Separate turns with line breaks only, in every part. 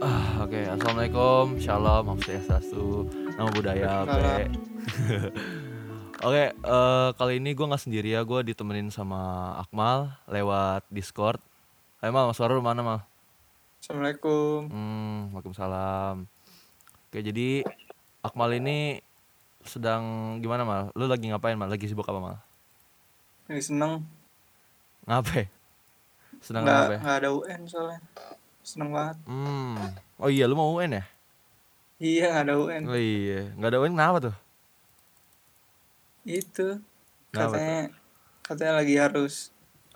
Ah, Oke, assalamualaikum, shalom, om swastiastu, nama budaya, P.
Waalaikumsalam.
Oke, eh, kali ini gue nggak sendiri ya, gue ditemenin sama Akmal lewat Discord. Ayo Mal, Mas Warul mana Mal?
Assalamualaikum.
Hmm, Waalaikumsalam. Oke, jadi Akmal ini sedang gimana Mal? Lu lagi ngapain Mal? Lagi sibuk apa Mal?
Lagi seneng.
Ngapain? Sedang
nggak
ngapain?
nggak ada UN soalnya. Seneng banget.
Hmm. Oh iya, lu mau UN ya?
Iya nggak ada UN.
Oh iya, nggak ada UN kenapa tuh?
Itu
Kenapa
katanya katanya lagi harus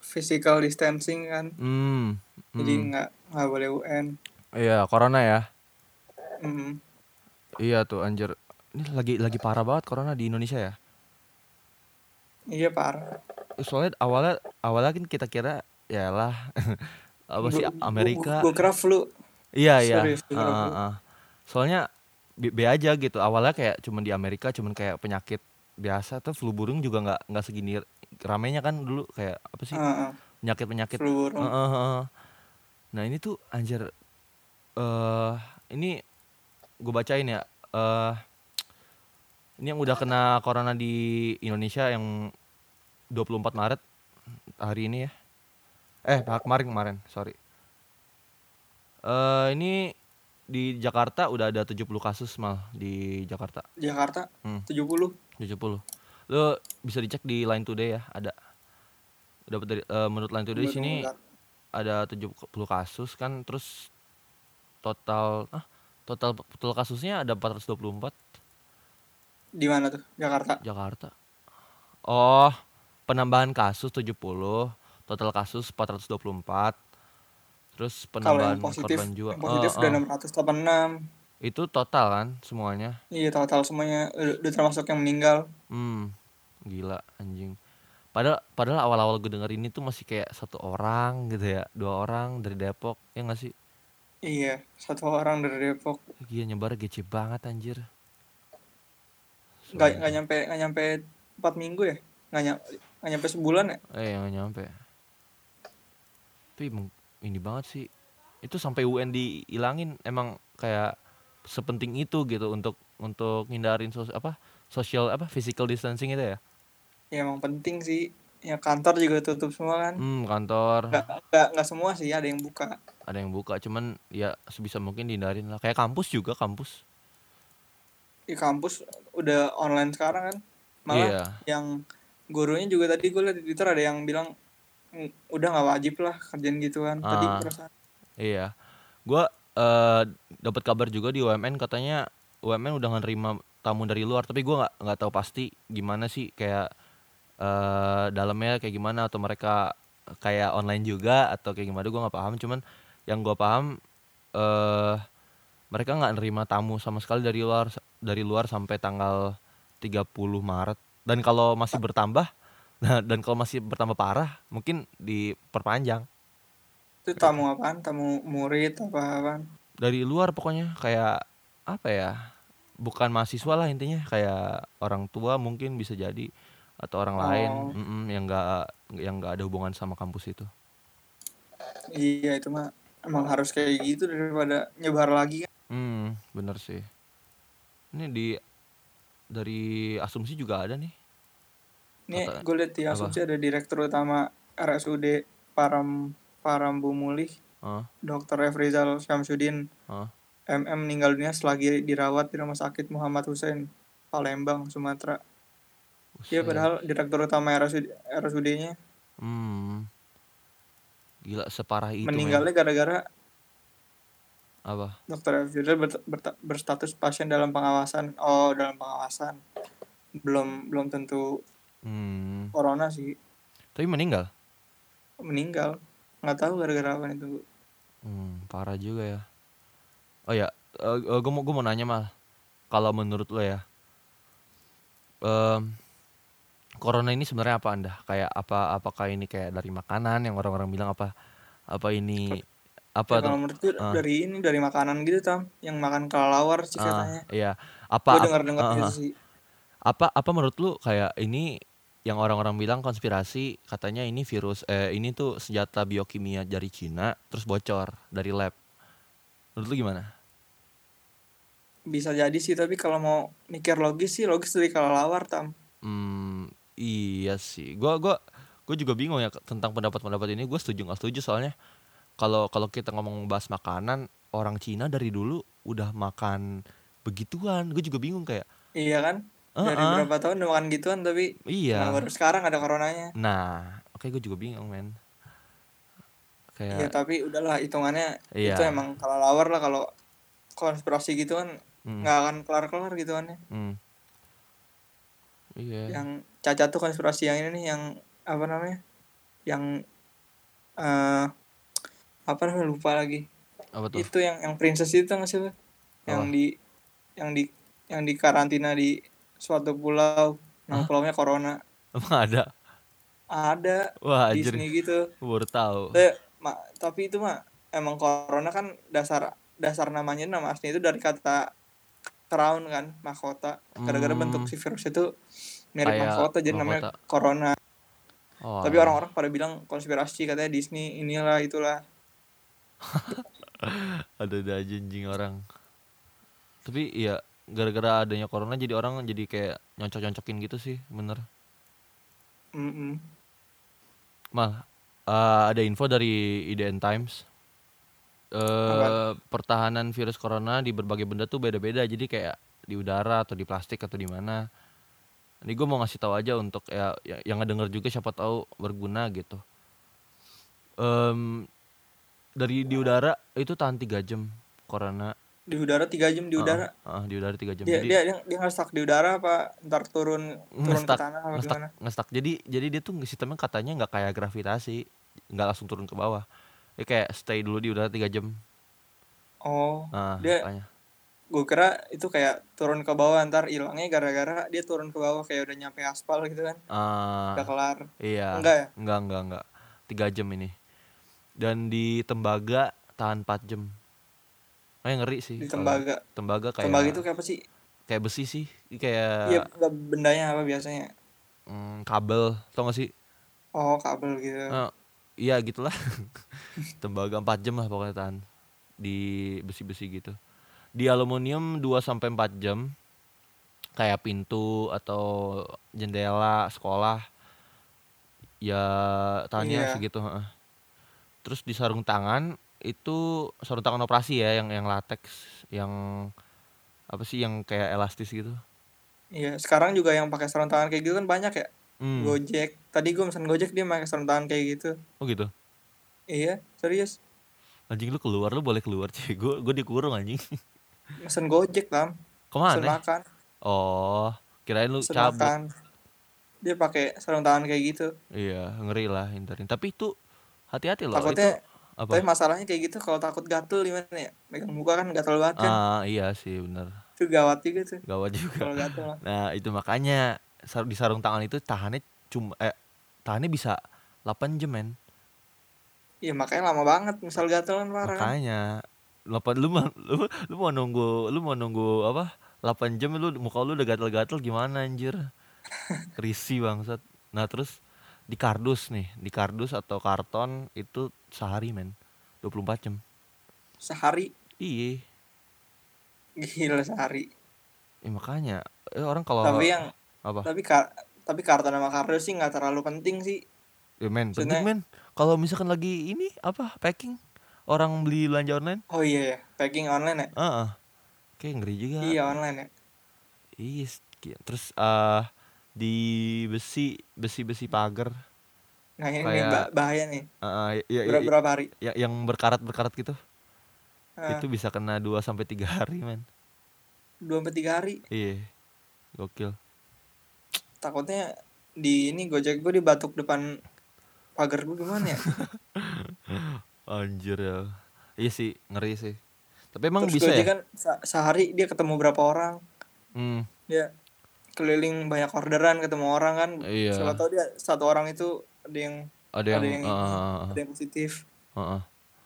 physical distancing kan.
Hmm. hmm.
Jadi nggak nggak boleh UN.
Iya, corona ya.
Mm.
Iya tuh anjir. Ini lagi lagi parah banget corona di Indonesia ya. Eh,
Iya parah.
Soalnya awalnya awalnya kan kita kira ya lah apa sih ya, Amerika.
Gue kira flu.
Iya iya.
Serius, gua kira
Ah, ah,
flu.
ah. Soalnya be, be aja gitu. Awalnya kayak cuman di Amerika cuman kayak penyakit biasa tuh flu burung juga nggak nggak segini ramenya kan dulu kayak apa sih
Ah, ah.
penyakit penyakit
flu burung.
Heeh, heeh. Nah ini tuh anjir eh ini gue bacain ya. eh ini yang udah kena corona di Indonesia yang 24 Maret hari ini ya. Eh ah, kemarin kemarin sorry. eh ini di Jakarta udah ada 70 kasus mal di Jakarta.
Jakarta
Hmm.
70.
70. Lo bisa dicek di Line Today ya, ada. Dapat dari eh, menurut Line Today di
Baru
sini
nggak-
ada 70 kasus kan terus total ah total total kasusnya ada 424
Di mana tuh? Jakarta.
Jakarta. Oh, penambahan kasus 70, total kasus 424. Terus
Kalau
penambahan
yang positif,
korban jiwa.
yang positif
Eh,
udah
eh,
686.
Itu total kan semuanya.
Iya total semuanya udah, udah termasuk yang meninggal.
Hmm, gila anjing. Padahal padahal awal-awal gue denger ini tuh masih kayak satu orang gitu ya, dua orang dari Depok ya nggak sih?
Iya, satu orang dari Depok.
Gila nyebar gece banget anjir.
nggak nggak nyampe nggak nyampe empat minggu ya nggak nyampe nggak nyampe sebulan ya
Eh yang nyampe. Tapi emang ini banget sih. Itu sampai UN dihilangin emang kayak sepenting itu gitu untuk untuk ngindarin sos apa social apa physical distancing itu ya.
ya emang penting sih ya kantor juga tutup semua kan
Hmm kantor
nggak nggak nggak semua sih ada yang buka
ada yang buka cuman ya sebisa mungkin dihindarin lah. Kayak kampus juga kampus.
di kampus udah online sekarang kan malah
Iya.
yang gurunya juga tadi gue liat di twitter ada yang bilang "Mm, udah nggak wajib lah kerjaan gitu kan tadi
Ah.
perasaan
Iya. Gua eh dapat kabar juga di UMN katanya UMN udah nerima tamu dari luar, tapi gua nggak nggak tahu pasti gimana sih kayak eh dalamnya kayak gimana atau mereka kayak online juga atau kayak gimana gua nggak paham, cuman yang gua paham eh mereka nggak nerima tamu sama sekali dari luar dari luar sampai tanggal 30 Maret. Dan kalau masih bertambah nah, dan kalau masih bertambah parah mungkin diperpanjang.
itu tamu apaan tamu murid apa apaan
dari luar pokoknya kayak apa ya bukan mahasiswa lah intinya kayak orang tua mungkin bisa jadi atau orang lain
Oh.
mm-mm, yang nggak yang nggak ada hubungan sama kampus itu
iya itu mah emang harus kayak gitu daripada nyebar lagi kan
hmm bener sih ini di dari asumsi juga ada nih
Nih,
Kata-
gue lihat di
apa?
asumsi ada direktur utama RSUD Param Parambumulih,
Heeh,
Dr. F. Rizal Syamsuddin,
heeh.
MM meninggal dunia selagi dirawat di Rumah Sakit Muhammad Hussein, Palembang, Sumatera.
Buset.
Iya, padahal direktur utama RSUD, RSUD-nya
Gitu, hmm gila separah itu men.
meninggalnya gara-gara
apa
Dr. F. Rizal ber- ber- berstatus pasien dalam pengawasan. Oh, dalam pengawasan. Belum belum tentu
hmm
corona sih
tapi meninggal
meninggal. Nggak tahu gara-gara apa itu.
Hmm, parah juga ya. Oh ya, gue mau gue mau nanya mal, kalau menurut lo ya, em, corona ini sebenarnya apa anda? Kayak apa? Apakah ini kayak dari makanan yang orang-orang bilang apa? Apa ini apa
Ya, kalau
tuh?
menurut gue
Ah.
dari ini dari makanan gitu tam yang makan kelelawar sih katanya
Ah, iya.
gue
Apa
dengar dengar
ah,
gitu
ah.
sih
apa apa menurut lu kayak ini yang orang-orang bilang konspirasi katanya ini virus eh ini tuh senjata biokimia dari Cina terus bocor dari lab. Menurut lu gimana?
bisa jadi sih tapi kalau mau mikir logis sih logis dari kelelawar tam
Hmm, iya sih. Gua gua gua juga bingung ya ke- tentang pendapat-pendapat ini. Gua setuju nggak setuju soalnya kalau kalau kita ngomong bahas makanan, orang Cina dari dulu udah makan begituan. Gue juga bingung kayak
iya kan dari
"Eh, eh,
berapa tahun udah makan gituan tapi
Iya.
nah, baru sekarang ada coronanya
Nah, oke gue juga bingung, men.
Iya
Kayak
tapi udahlah hitungannya
Ya. Iya.
itu emang kalau lawar lah kalau konspirasi gitu kan
mm,
nggak akan kelar kelar gitu kan ya.
mm. Iya.
Yang cacat tuh konspirasi yang ini nih yang apa namanya? Yang eh apa namanya lupa lagi.
Apa tuh?
Itu yang yang princess itu nggak sih lu? Yang
Apa?
di yang di yang di karantina di suatu pulau. Nah, pulaunya corona.
Emang ada.
Ada
Wah,
di
anjir.
sini gitu.
gua Baru tahu.
Eh, ma- tapi itu mah emang corona kan dasar dasar namanya nama asli itu dari kata crown kan mahkota gara-gara
Hmm.
bentuk si virus itu mirip
Kayak
mahkota jadi namanya
mahkota.
corona
Oh,
tapi orang-orang pada bilang konspirasi katanya Disney inilah itulah
ada ada aja anjing orang. Tapi iya gara-gara adanya corona jadi orang jadi kayak nyocok-nyocokin gitu sih, bener.
Mm-mm.
Mal, eh, ada info dari IDN Times. eh
Apa?
pertahanan virus corona di berbagai benda tuh beda-beda. Jadi kayak di udara atau di plastik atau di mana. Ini gue mau ngasih tahu aja untuk ya ya- yang ngedenger juga siapa tahu berguna gitu. Em, dari di udara itu tahan 3 jam corona.
di udara tiga jam di udara
Ah, ah, di udara 3 jam.
dia,
Jadi-
dia dia dia ngestak di udara apa ntar turun turun ke
Hmm, ngestak
tanah apa
ngestak
gimana
ngestak jadi jadi dia tuh sistemnya katanya nggak kayak gravitasi nggak langsung turun ke bawah dia kayak stay dulu di udara tiga jam
oh
nah
Dia-
makanya.
gue kira itu kayak turun ke bawah ntar hilangnya gara-gara dia turun ke bawah kayak udah nyampe aspal gitu kan
Ah,
udah kelar
iya
enggak ya?
enggak enggak enggak tiga jam ini dan di tembaga tahan 4 jam kayak ngeri sih
di
kalau
tembaga
tembaga Iya, kayak Ya.
tembaga itu kayak apa sih
kayak besi sih kayak
Iya, b- bendanya apa biasanya?
mm, kabel tau gak sih
Oh, kabel gitu.
Eh, iya gitulah tembaga 4 jam lah pokoknya tahan di besi-besi gitu di aluminium 2 sampai 4 jam kayak pintu atau jendela sekolah ya tahannya
Iya.
segitu heeh. terus di sarung tangan itu sarung tangan operasi ya yang yang latex yang apa sih yang kayak elastis gitu
Iya, sekarang juga yang pakai sarung tangan kayak gitu kan banyak ya.
Hmm,
Gojek. Tadi gue pesan Gojek dia pakai sarung tangan kayak gitu.
oh gitu
Iya, serius.
anjing lu keluar lu boleh keluar sih gue gue dikurung anjing
Pesan Gojek, Tam.
kemana
Pesan makan,
Oh, kirain lu
pesan
cabut.
makan. Dia pakai sarung tangan kayak gitu.
Iya, ngeri lah hindarin. Tapi itu hati-hati loh.
Takutnya
itu apa?
tapi masalahnya kayak gitu kalau takut gatel gimana ya? Megang muka kan gatel banget kan.
Ah, iya sih bener
Itu gawat juga tuh
Gawat juga.
kalau gatel. mah.
Nah, itu makanya sar- di sarung tangan itu tahannya cuma eh tahannya bisa 8 jam, men.
Iya, makanya lama banget misal gatel kan parah kan.
Makanya 8 lu, mau- lu lu mau nunggu lu mau nunggu apa? 8 jam lu muka lu udah gatel-gatel gimana anjir? Risi bangsat. Nah, terus di kardus nih, di kardus atau karton itu sehari, men. 24 jam.
Sehari
Iya,
gila sehari.
eh, makanya eh, orang kalau
Tapi ya, yang
apa?
tapi ka- tapi kartu nama kartu sih nggak terlalu penting sih
Ya, men, penting
maksudnya-
men. Kalau misalkan lagi ini apa packing orang beli belanja online,
oh iya ya packing online ya
ah ah. kayak ngeri juga.
iya online ya
Iya, s- ki- terus eh di besi besi besi pagar,
nah ini
Kayak-
bah- bahaya nih
Ah, ah, ya, ya,
berapa,
ya-
berapa hari
ya- yang berkarat berkarat gitu,
Ah,
itu bisa kena 2 sampai tiga hari men.
dua sampai tiga hari
Iya, gokil.
takutnya di ini gojek gue dibatuk depan pagar gue gimana ya
Anjir ya. Iya sih, ngeri sih. Tapi emang
terus
bisa
gojek
ya?
kan se- sehari dia ketemu berapa orang
Hmm,
dia keliling banyak orderan ketemu orang kan
Iya.
siapa tahu dia satu orang itu ada yang
ada yang,
ada yang,
ah, ah, ah, ah.
ada yang positif
Heeh.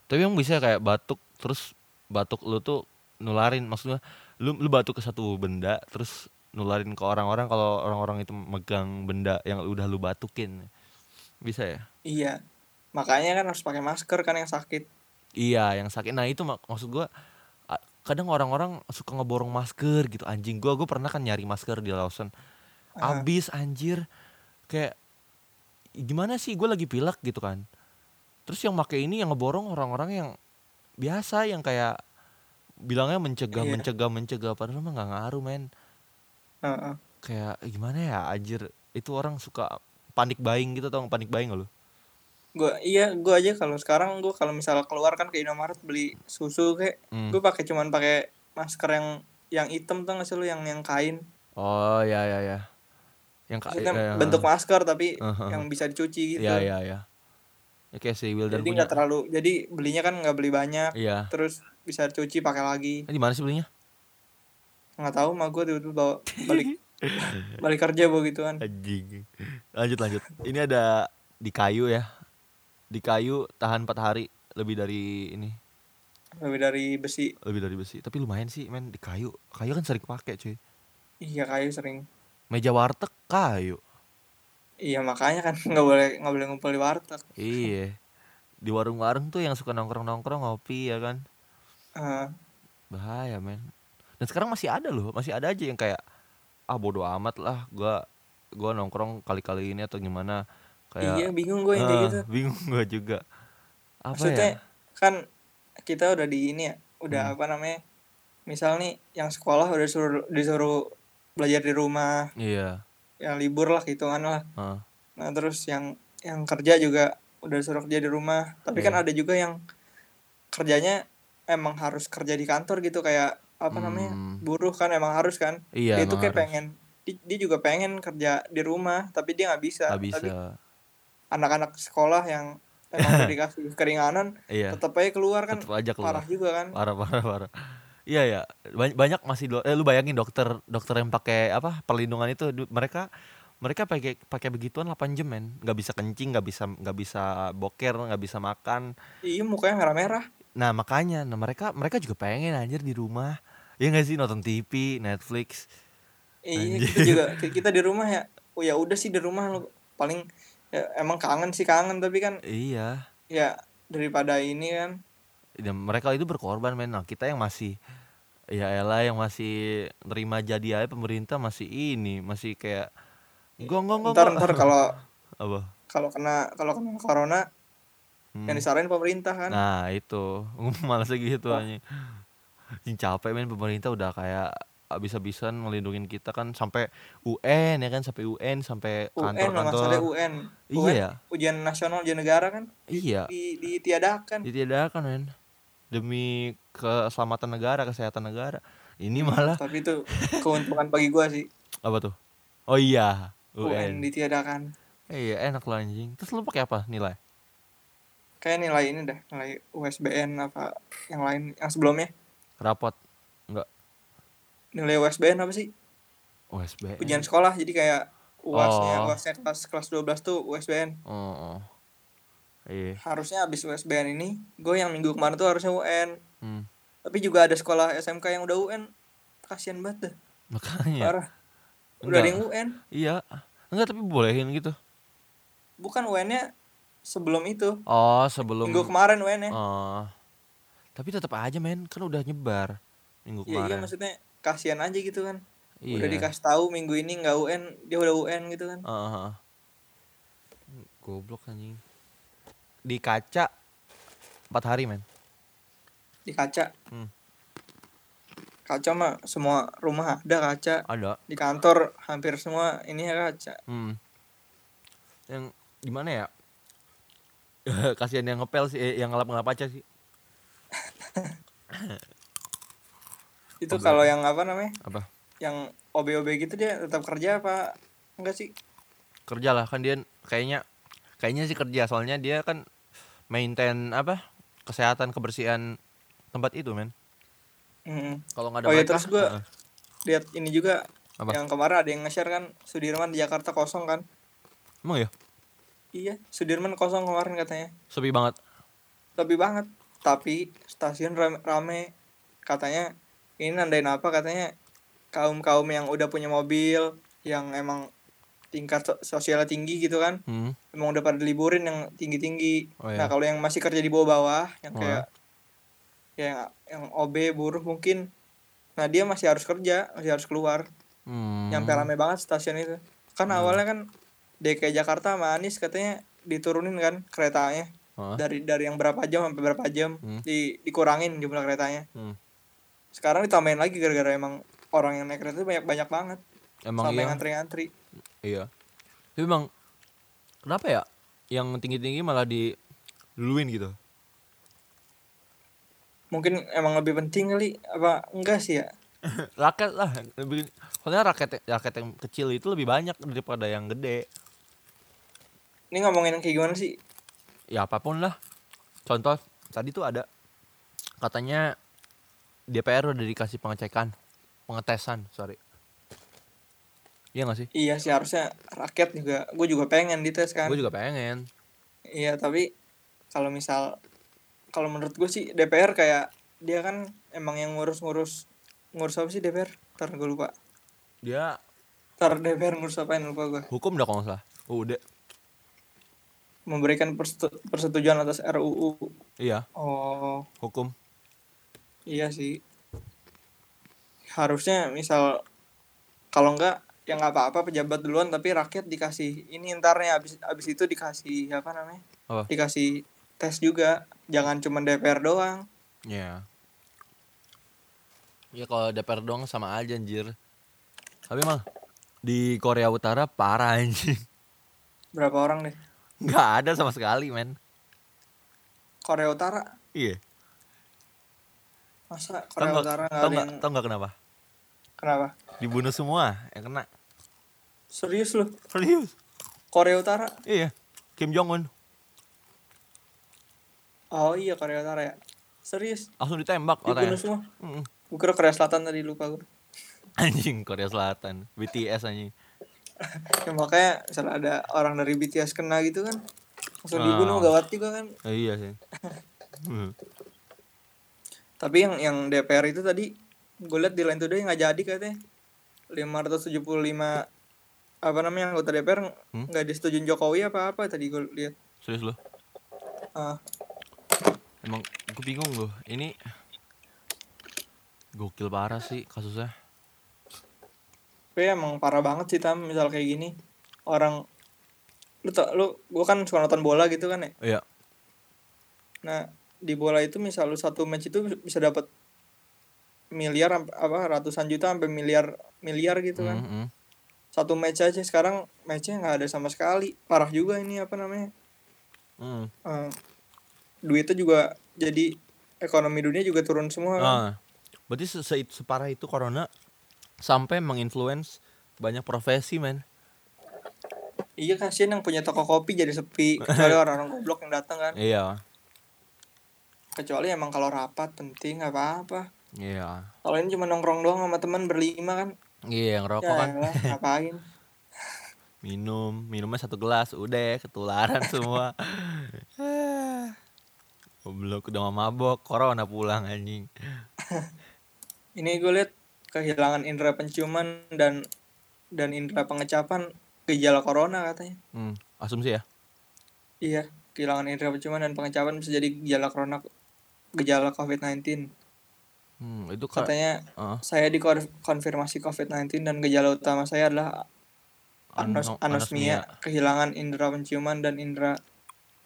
Tapi emang bisa kayak batuk terus batuk lu tuh nularin maksudnya lu lu batuk ke satu benda terus nularin ke orang-orang kalau orang-orang itu megang benda yang udah lu batukin. Bisa ya?
iya makanya kan harus pakai masker kan yang sakit
Iya, yang sakit. Nah, itu mak maksud gua a- kadang orang-orang suka ngeborong masker gitu anjing gua gua pernah kan nyari masker di Lawson abis anjir kayak gimana sih gua lagi pilek gitu kan terus yang make ini yang ngeborong orang-orang yang biasa yang kayak bilangnya mencegah
Iya.
mencegah mencegah padahal mah nggak ngaruh men
Heeh.
kayak gimana ya anjir itu orang suka panik buying gitu tau panik buying nggak lu
Gua iya, gua aja kalau sekarang gua kalau misalnya keluar kan ke Indomaret beli susu kayak
Hmm.
gua pakai cuman pakai masker yang yang hitam tuh nggak sih lu yang yang kain
oh ya ya ya yang ka-
maksudnya
ya, ya,
bentuk masker tapi
Heeh.
yang bisa dicuci gitu
ya ya ya ya kayak si Wildan
jadi
punya
nggak terlalu jadi belinya kan nggak beli banyak
iya
terus bisa dicuci pakai lagi
Eh, di mana sih belinya
nggak tahu mah gua tiba-tiba bawa balik balik kerja bawa gituan
anjing lanjut lanjut ini ada di kayu ya di kayu tahan 4 hari lebih dari ini
lebih dari besi
lebih dari besi tapi lumayan sih men di kayu kayu kan sering pakai cuy
iya kayu sering
meja warteg kayu
iya makanya kan nggak boleh nggak boleh ngumpul di warteg
iya di warung-warung tuh yang suka nongkrong-nongkrong ngopi ya kan
Eh,
bahaya men dan sekarang masih ada loh masih ada aja yang kayak ah bodo amat lah gua gua nongkrong kali-kali ini atau gimana kayak
iya bingung gue yang kayak
eh,
gitu
bingung gua juga apa
maksudnya
ya
kan kita udah di ini ya
Hmm.
udah apa namanya misal nih yang sekolah udah suruh disuruh belajar di rumah
iya
yang libur lah hitungan lah
heeh.
nah terus yang yang kerja juga udah suruh kerja di rumah tapi kan
Iya.
ada juga yang kerjanya emang harus kerja di kantor gitu kayak apa namanya
Hmm.
buruh kan emang harus kan
iya
dia tuh
emang
kayak
harus.
pengen di- dia juga pengen kerja di rumah tapi dia nggak bisa.
Nggak bisa
tapi anak-anak sekolah yang emang udah dikasih keringanan
iya
tetap aja keluar kan
tetep aja keluar
parah juga kan
parah parah parah iya ya banyak, banyak masih do- eh, lu bayangin dokter dokter yang pakai apa perlindungan itu du- mereka mereka pakai pakai begituan 8 jam men nggak bisa kencing nggak bisa nggak bisa boker nggak bisa makan
iya mukanya merah-merah
nah makanya nah mereka mereka juga pengen anjir di rumah ya nggak sih nonton TV Netflix
iya
Anjir.
kita juga ki- kita di rumah ya oh ya udah sih di rumah lu paling ya, emang kangen sih kangen tapi kan
iya
ya daripada ini kan
dan mereka itu berkorban men nah, kita yang masih ya elah yang masih nerima jadi aja pemerintah masih ini masih kayak gong gong gong
ntar
gong.
ntar kalau
apa
kalau kena kalau kena corona
Hmm.
yang disaranin pemerintah kan
Nah itu Malas lagi gitu
Wah.
anjing Anjing capek men pemerintah udah kayak Abis-abisan ngelindungin kita kan Sampai UN ya kan Sampai UN Sampai
UN loh, masalahnya
kantor-kantor
UN
Iya
UN,
ya.
ujian nasional ujian negara kan
Iya
di, ditiadakan
Ditiadakan men Demi keselamatan negara Kesehatan negara Ini
Hmm.
malah
tapi itu keuntungan bagi gua sih
Apa tuh Oh iya
UN
UN
ditiadakan
Iya enak lah anjing Terus lu pakai apa nilai
kayak nilai ini dah nilai USBN apa yang lain yang sebelumnya
Rapot Enggak
nilai USBN apa
Hmm.
sih
USBN
ujian sekolah jadi kayak uasnya
Oh.
uasnya kelas kelas 12 tuh USBN
Oh, oh. Iya
harusnya abis USBN ini gue yang minggu kemarin tuh harusnya UN
hmm.
tapi juga ada sekolah SMK yang udah UN kasihan banget dah
Makanya
parah
Iya.
udah
Enggak.
ada yang UN
Iya. Enggak tapi bolehin gitu.
bukan UN-nya sebelum itu
Oh, sebelum
minggu kemarin UN-nya
Oh. Tapi tetap aja men, kan udah nyebar minggu
iya iya
kemarin.
maksudnya kasihan aja gitu kan
Iya.
udah dikasih tahu minggu ini nggak UN dia udah UN gitu kan
Ah, ah, ah. Goblok anjing. Di kaca 4 hari men.
di kaca
Hmm.
kaca mah semua rumah ada kaca
Ada.
di kantor hampir semua ini ya kaca
Hmm. Yang gimana ya? Kasihan yang ngepel sih, eh, yang ngelap-ngelap aja sih.
itu
Obe.
kalau yang apa namanya
Apa?
yang OB-OB gitu dia tetap kerja apa enggak sih
Kerja lah kan dia kayaknya kayaknya sih kerja soalnya dia kan maintain apa? Kesehatan kebersihan tempat itu men.
Mm.
Kalau nggak ada
oh ya
mereka,
terus gue
heeh.
lihat ini juga
Apa?
yang kemarin ada yang nge-share kan Sudirman di Jakarta kosong kan
Emang ya?
iya Sudirman kosong kemarin katanya
Sepi banget.
tapi banget tapi stasiun rame, rame. katanya ini nandain apa katanya kaum kaum yang udah punya mobil yang emang tingkat so- sosialnya tinggi gitu kan
Hmm.
emang udah pada liburin yang tinggi tinggi
Oh, iya.
nah kalau yang masih kerja di bawah bawah yang
Oh,
kayak ya yang, yang OB buruh mungkin nah dia masih harus kerja masih harus keluar
Hmm.
nyampe rame banget stasiun itu kan awalnya kan DKI Jakarta sama Anies katanya diturunin kan keretanya
Hah?
dari dari yang berapa jam sampai berapa jam
Hmm.
di dikurangin jumlah keretanya
Hmm.
sekarang ditambahin lagi gara-gara emang orang yang naik kereta itu banyak banyak banget
Emang
sampai
iya.
ngantri-ngantri
Iya. Tapi emang kenapa ya yang tinggi-tinggi malah diluluin gitu?
mungkin emang lebih penting kali apa enggak sih ya
rakyat lah lebih soalnya rakyat rakyat yang kecil itu lebih banyak daripada yang gede
ini ngomongin yang kayak gimana sih
ya apapun lah contoh tadi tuh ada katanya DPR udah dikasih pengecekan pengetesan sorry iya gak sih
iya sih harusnya rakyat juga gue juga pengen dites kan
gue juga pengen
iya tapi kalau misal kalau menurut gue sih DPR kayak dia kan emang yang ngurus-ngurus ngurus apa sih DPR ntar gue lupa
dia
ntar DPR ngurus apain lupa gue
hukum dah kalau nggak salah udah
memberikan persetu- persetujuan atas RUU
iya
oh
hukum
Iya sih. Harusnya misal kalau enggak ya nggak apa-apa pejabat duluan tapi rakyat dikasih ini entarnya abis abis itu dikasih apa namanya?
Apa?
Dikasih tes juga. Jangan cuma DPR doang.
ya ya kalau DPR doang sama aja anjir tapi mah di Korea Utara parah anjir
Berapa orang deh?
nggak ada sama sekali men
Korea Utara.
Iya.
Masa Korea
Tau
Utara
nggak?
nggak
Tau
ada
nggak?
yang
Tau nggak kenapa?
kenapa?
Dibunuh semua yang kena.
Serius lu?
Serius?
Korea Utara?
Iya. Kim Jong Un
Oh iya Korea Utara ya. Serius?
langsung ditembak
Dibunuh
otaknya.
semua.
Mm-mm.
Gue kira Korea Selatan tadi lupa gue.
Anjing Korea Selatan, BTS anjing.
Ya, makanya misalnya ada orang dari BTS kena gitu kan langsung
Ah.
dibunuh gawat juga kan
Eh, iya sih. Hmm.
Tapi yang yang DPR itu tadi gue liat di Line Today nggak jadi katanya 575 apa namanya anggota DPR ng-
Hmm?
nggak disetujuin Jokowi apa apa tadi gue lihat.
Serius loh.
Ah,
Emang gue bingung loh. Ini gokil parah sih kasusnya.
tapi emang parah banget sih tam misal kayak gini orang lu tau lu gue kan suka nonton bola gitu kan ya.
Iya.
Nah di bola itu misal lu satu match itu bisa dapat miliar amp- apa ratusan juta sampai miliar miliar gitu kan.
Mm-mm.
Satu match aja sekarang matchnya nggak ada sama sekali. Parah juga ini apa namanya?
Mm.
Eh, duitnya juga jadi ekonomi dunia juga turun semua kan.
Ah. Berarti se- se- separah itu corona sampai menginfluence banyak profesi men.
iya kasihan yang punya toko kopi jadi sepi kecuali orang-orang goblok yang datang kan
Iya.
kecuali emang kalau rapat penting nggak apa-apa
Iya.
kalau ini cuma nongkrong doang sama teman berlima kan
Iya yang rokok
ya
kan
elah, ngapain
minum minumnya satu gelas udah ketularan semua Goblok udah mau mabok corona pulang anjing
ini gue lihat kehilangan indera penciuman dan dan indera pengecapan gejala corona katanya
hmm, asumsi ya
iya kehilangan indera penciuman dan pengecapan bisa jadi gejala corona gejala covid-19
hmm, itu kar-
katanya
Heeh.
saya dikonfirmasi COVID-19 dan gejala utama saya adalah anos
Ano-
anosmia, kehilangan indera penciuman dan indera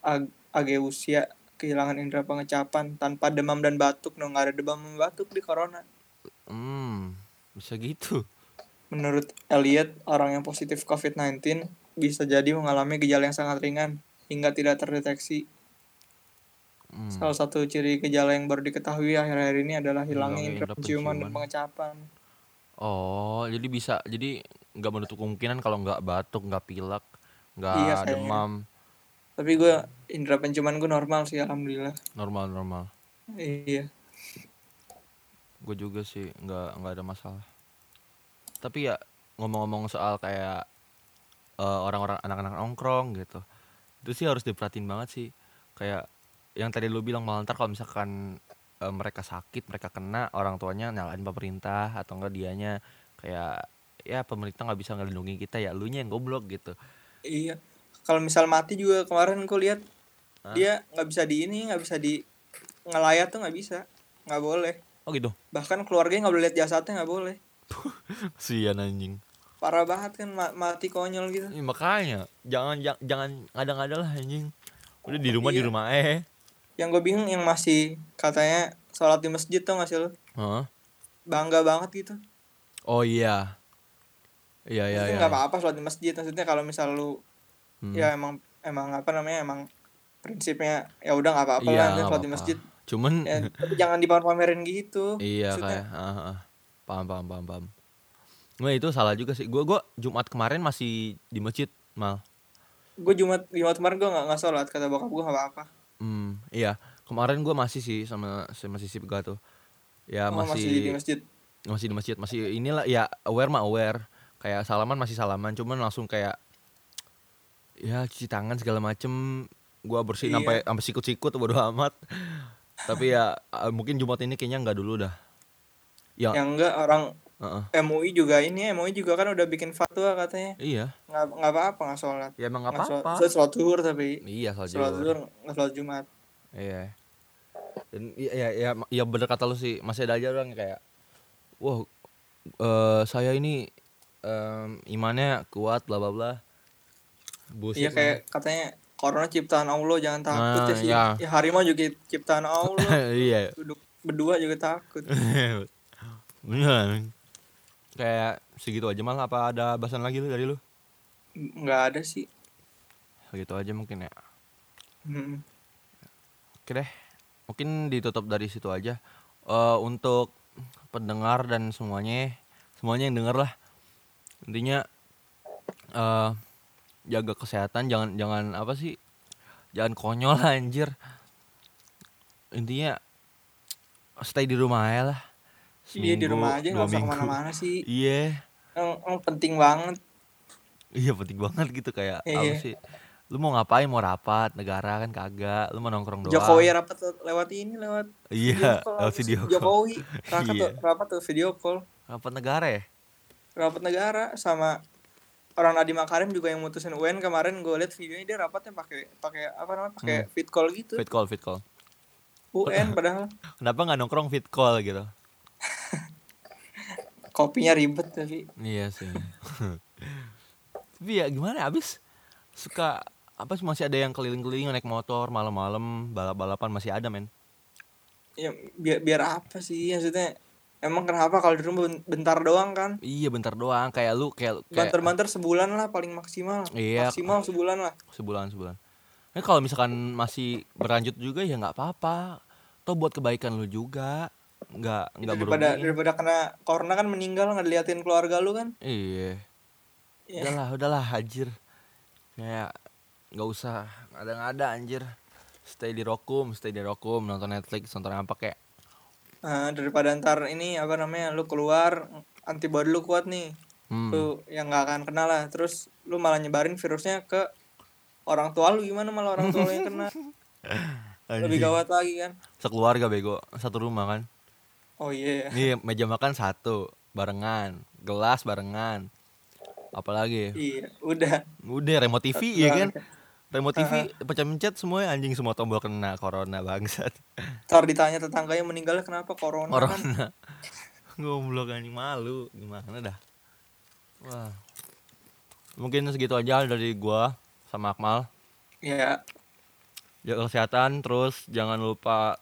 ag ageusia, kehilangan indera pengecapan tanpa demam dan batuk. No, nggak ada demam dan batuk di corona.
hmm, bisa gitu
Menurut Elliot, orang yang positif COVID-19 bisa jadi mengalami gejala yang sangat ringan hingga tidak terdeteksi.
Hmm,
Salah satu ciri gejala yang baru diketahui akhir-akhir ini adalah
Hilangnya
hilangnya indera
indera
penciuman dan
penciuman.
pengecapan.
oh jadi bisa jadi nggak menutup kemungkinan kalau nggak batuk nggak pilek nggak
Iya, kayaknya.
demam
Tapi gue indera penciuman gue normal sih alhamdulillah.
normal normal
Iya.
gue juga sih nggak nggak ada masalah tapi ya ngomong-ngomong soal kayak eh, orang-orang anak-anak nongkrong gitu itu sih harus diperhatiin banget sih kayak yang tadi lu bilang malah ntar kalau misalkan eh, mereka sakit mereka kena orang tuanya nyalain pemerintah atau enggak dianya kayak ya pemerintah nggak bisa ngelindungi kita ya lu yang goblok gitu
Iya. Kalau misal mati juga kemarin gue lihat
Hah?
dia nggak bisa di ini nggak bisa di ngelayat tuh nggak bisa. nggak boleh
Oh gitu.
bahkan keluarganya nggak boleh lihat jasadnya nggak boleh
Sian anjing.
parah banget kan ma- mati konyol gitu
Ih, Iya, makanya jangan jangan, jangan ngada-ngada lah anjing. Udah di rumah di
Iya.
rumah eh.
yang gue bingung yang masih katanya sholat di masjid tuh nggak sih lo
Hah?
bangga banget gitu
Oh iya. Iya iya
itu
iya.
nggak apa-apa sholat di masjid maksudnya kalau misal lu
Hmm.
ya emang emang apa namanya emang prinsipnya ya udah nggak apa-apa
Iya,
lah nanti
nggak
sholat di
apa-apa.
masjid
Cuman
ya, tapi jangan dipamer-pamerin gitu
iya
maksudnya.
kayak ah, ah. paham paham paham paham. Gue itu salah juga sih. Gue gua Jumat kemarin masih di masjid mal.
gue jumat jumat kemarin gue nggak nggak sholat kata bokap gue nggak apa-apa
Hmm, iya. Kemarin gue masih sih sama sama si Sip gua tuh. Ya
Oh, masih di masjid
masih di masjid masih inilah ya aware mah aware kayak salaman masih salaman cuman langsung kayak ya cuci tangan segala macem gua bersihin
Iya.
sampai sampai sikut-sikut bodo amat tapi ya eh, mungkin jumat ini kayaknya nggak dulu dah ya
yang enggak orang
heeh.
MUI juga ini MUI juga kan udah bikin fatwa katanya
iya
nggak nggak apa-apa nggak sholat
ya emang nggak
Nggak sholat-
apa-apa
sholat, sholat zuhur tapi
iya
sholat
saja
zuhur nggak sholat jumat
iya dan iya ya, ya, ya bener kata lu sih masih ada aja orang yang kayak wah eh, saya ini em, imannya kuat bla bla bla
iya
Bullshit
kayak katanya corona ciptaan Allah jangan takut
Nah,
ya sih
iya.
ya harimau juga ciptaan Allah
lah. iya
duduk berdua juga takut
Bener Kayak segitu aja mal apa ada bahasan lagi lu dari lu?
nggak ada sih
Segitu aja mungkin ya.
Hmm.
Oke deh. Mungkin ditutup dari situ aja. Eh, untuk pendengar dan semuanya semuanya yang denger lah. Intinya eh jaga kesehatan jangan jangan apa sih? Jangan konyol lah, anjir. Intinya stay di rumah aja lah.
iya di
Seminggu,
rumah aja
dua
nggak usah
minggu.
kemana-mana sih
Iya.
Emang- emang penting banget
Iya penting banget gitu kayak
Iya.
apa sih? Lu mau ngapain? Mau rapat negara kan kagak. Lu mau nongkrong doang.
Jokowi ya. rapat lewat ini lewat
Iya, lewat
habis
video call.
Jokowi rapat
Iya.
tuh, rapat tuh video call
Rapat negara ya?
rapat negara sama orang Nadiem Makarim juga yang mutusin UN kemarin gue liat videonya dia rapatnya pakai pakai apa namanya pakai fit call gitu
Hmm. Fit call, fit call.
UN padahal
Kenapa nggak nongkrong fit call gitu?
kopinya ribet tapi
Iya sih. Tapi ya gimana ya, abis suka apa sih masih ada yang keliling-keliling naik motor malam-malam balap-balapan masih ada men.
ya, biar biar apa sih maksudnya emang kenapa kalau di rumah ben- bentar doang kan
Iya bentar doang kayak lu kayak, kayak
banter-banter sebulan lah paling maksimal
Iya.
maksimal sebulan lah
sebulan sebulan. Nah, kalau misalkan masih berlanjut juga ya nggak apa-apa. Toh buat kebaikan lu juga. Nggak nggak
daripada
berugi.
daripada kena corona kan meninggal nggak diliatin keluarga lu kan
Iya.
Iya.
Udahlah, udahlah, anjir. Kayak nggak usah ngada-ngada anjir. Stay di Rokum, stay di Rokum, nonton Netflix, nonton apa kayak.
Nah, daripada ntar ini apa namanya lu keluar antibodi lu kuat nih
Hmm.
lu yang nggak akan kena lah terus lu malah nyebarin virusnya ke orang tua lu gimana malah orang tua lu yang kena lebih
Anjing.
gawat lagi kan
Sekeluarga bego, satu rumah kan.
oh iya ya.
Ini meja makan satu, barengan, gelas barengan. Apalagi
iya udah
udah remote TV ya kan. Remote TV pencet-pencet semua anjing semua tombol kena corona bangsat.
ntar ditanya tetangganya meninggalnya kenapa corona kan
corona goblok anjing malu gimana dah wah mungkin segitu aja dari gua sama Akmal
ya
jaga kesehatan terus jangan lupa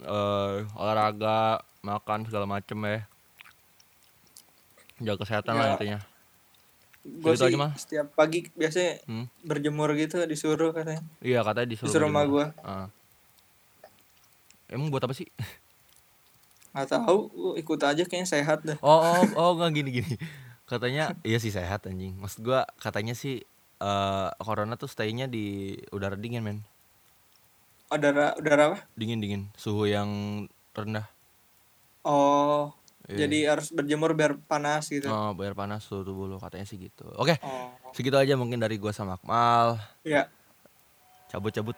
eh, olahraga makan segala macem ya jaga kesehatan lah
Ya.
intinya
gue
Segitu
sih
Gitu aja, Mal.
setiap pagi biasanya
Hmm.
berjemur gitu disuruh katanya
iya katanya disuruh
disuruh sama
berjemur.
gue
Ah. emang buat apa sih
nggak tahu gua ikut aja kayaknya sehat dah
Oh, oh, oh nggak gini gini. Katanya iya sih sehat anjing. Maksud gua katanya sih eh corona tuh stay-nya di udara dingin, men.
udara udara apa
Dingin-dingin, suhu yang rendah.
oh
Iya.
jadi harus berjemur biar panas gitu
Oh, biar panas suhu tubuh lu katanya sih gitu. Oke,
oh
segitu aja mungkin dari gua sama Akmal.
ya
Cabut-cabut.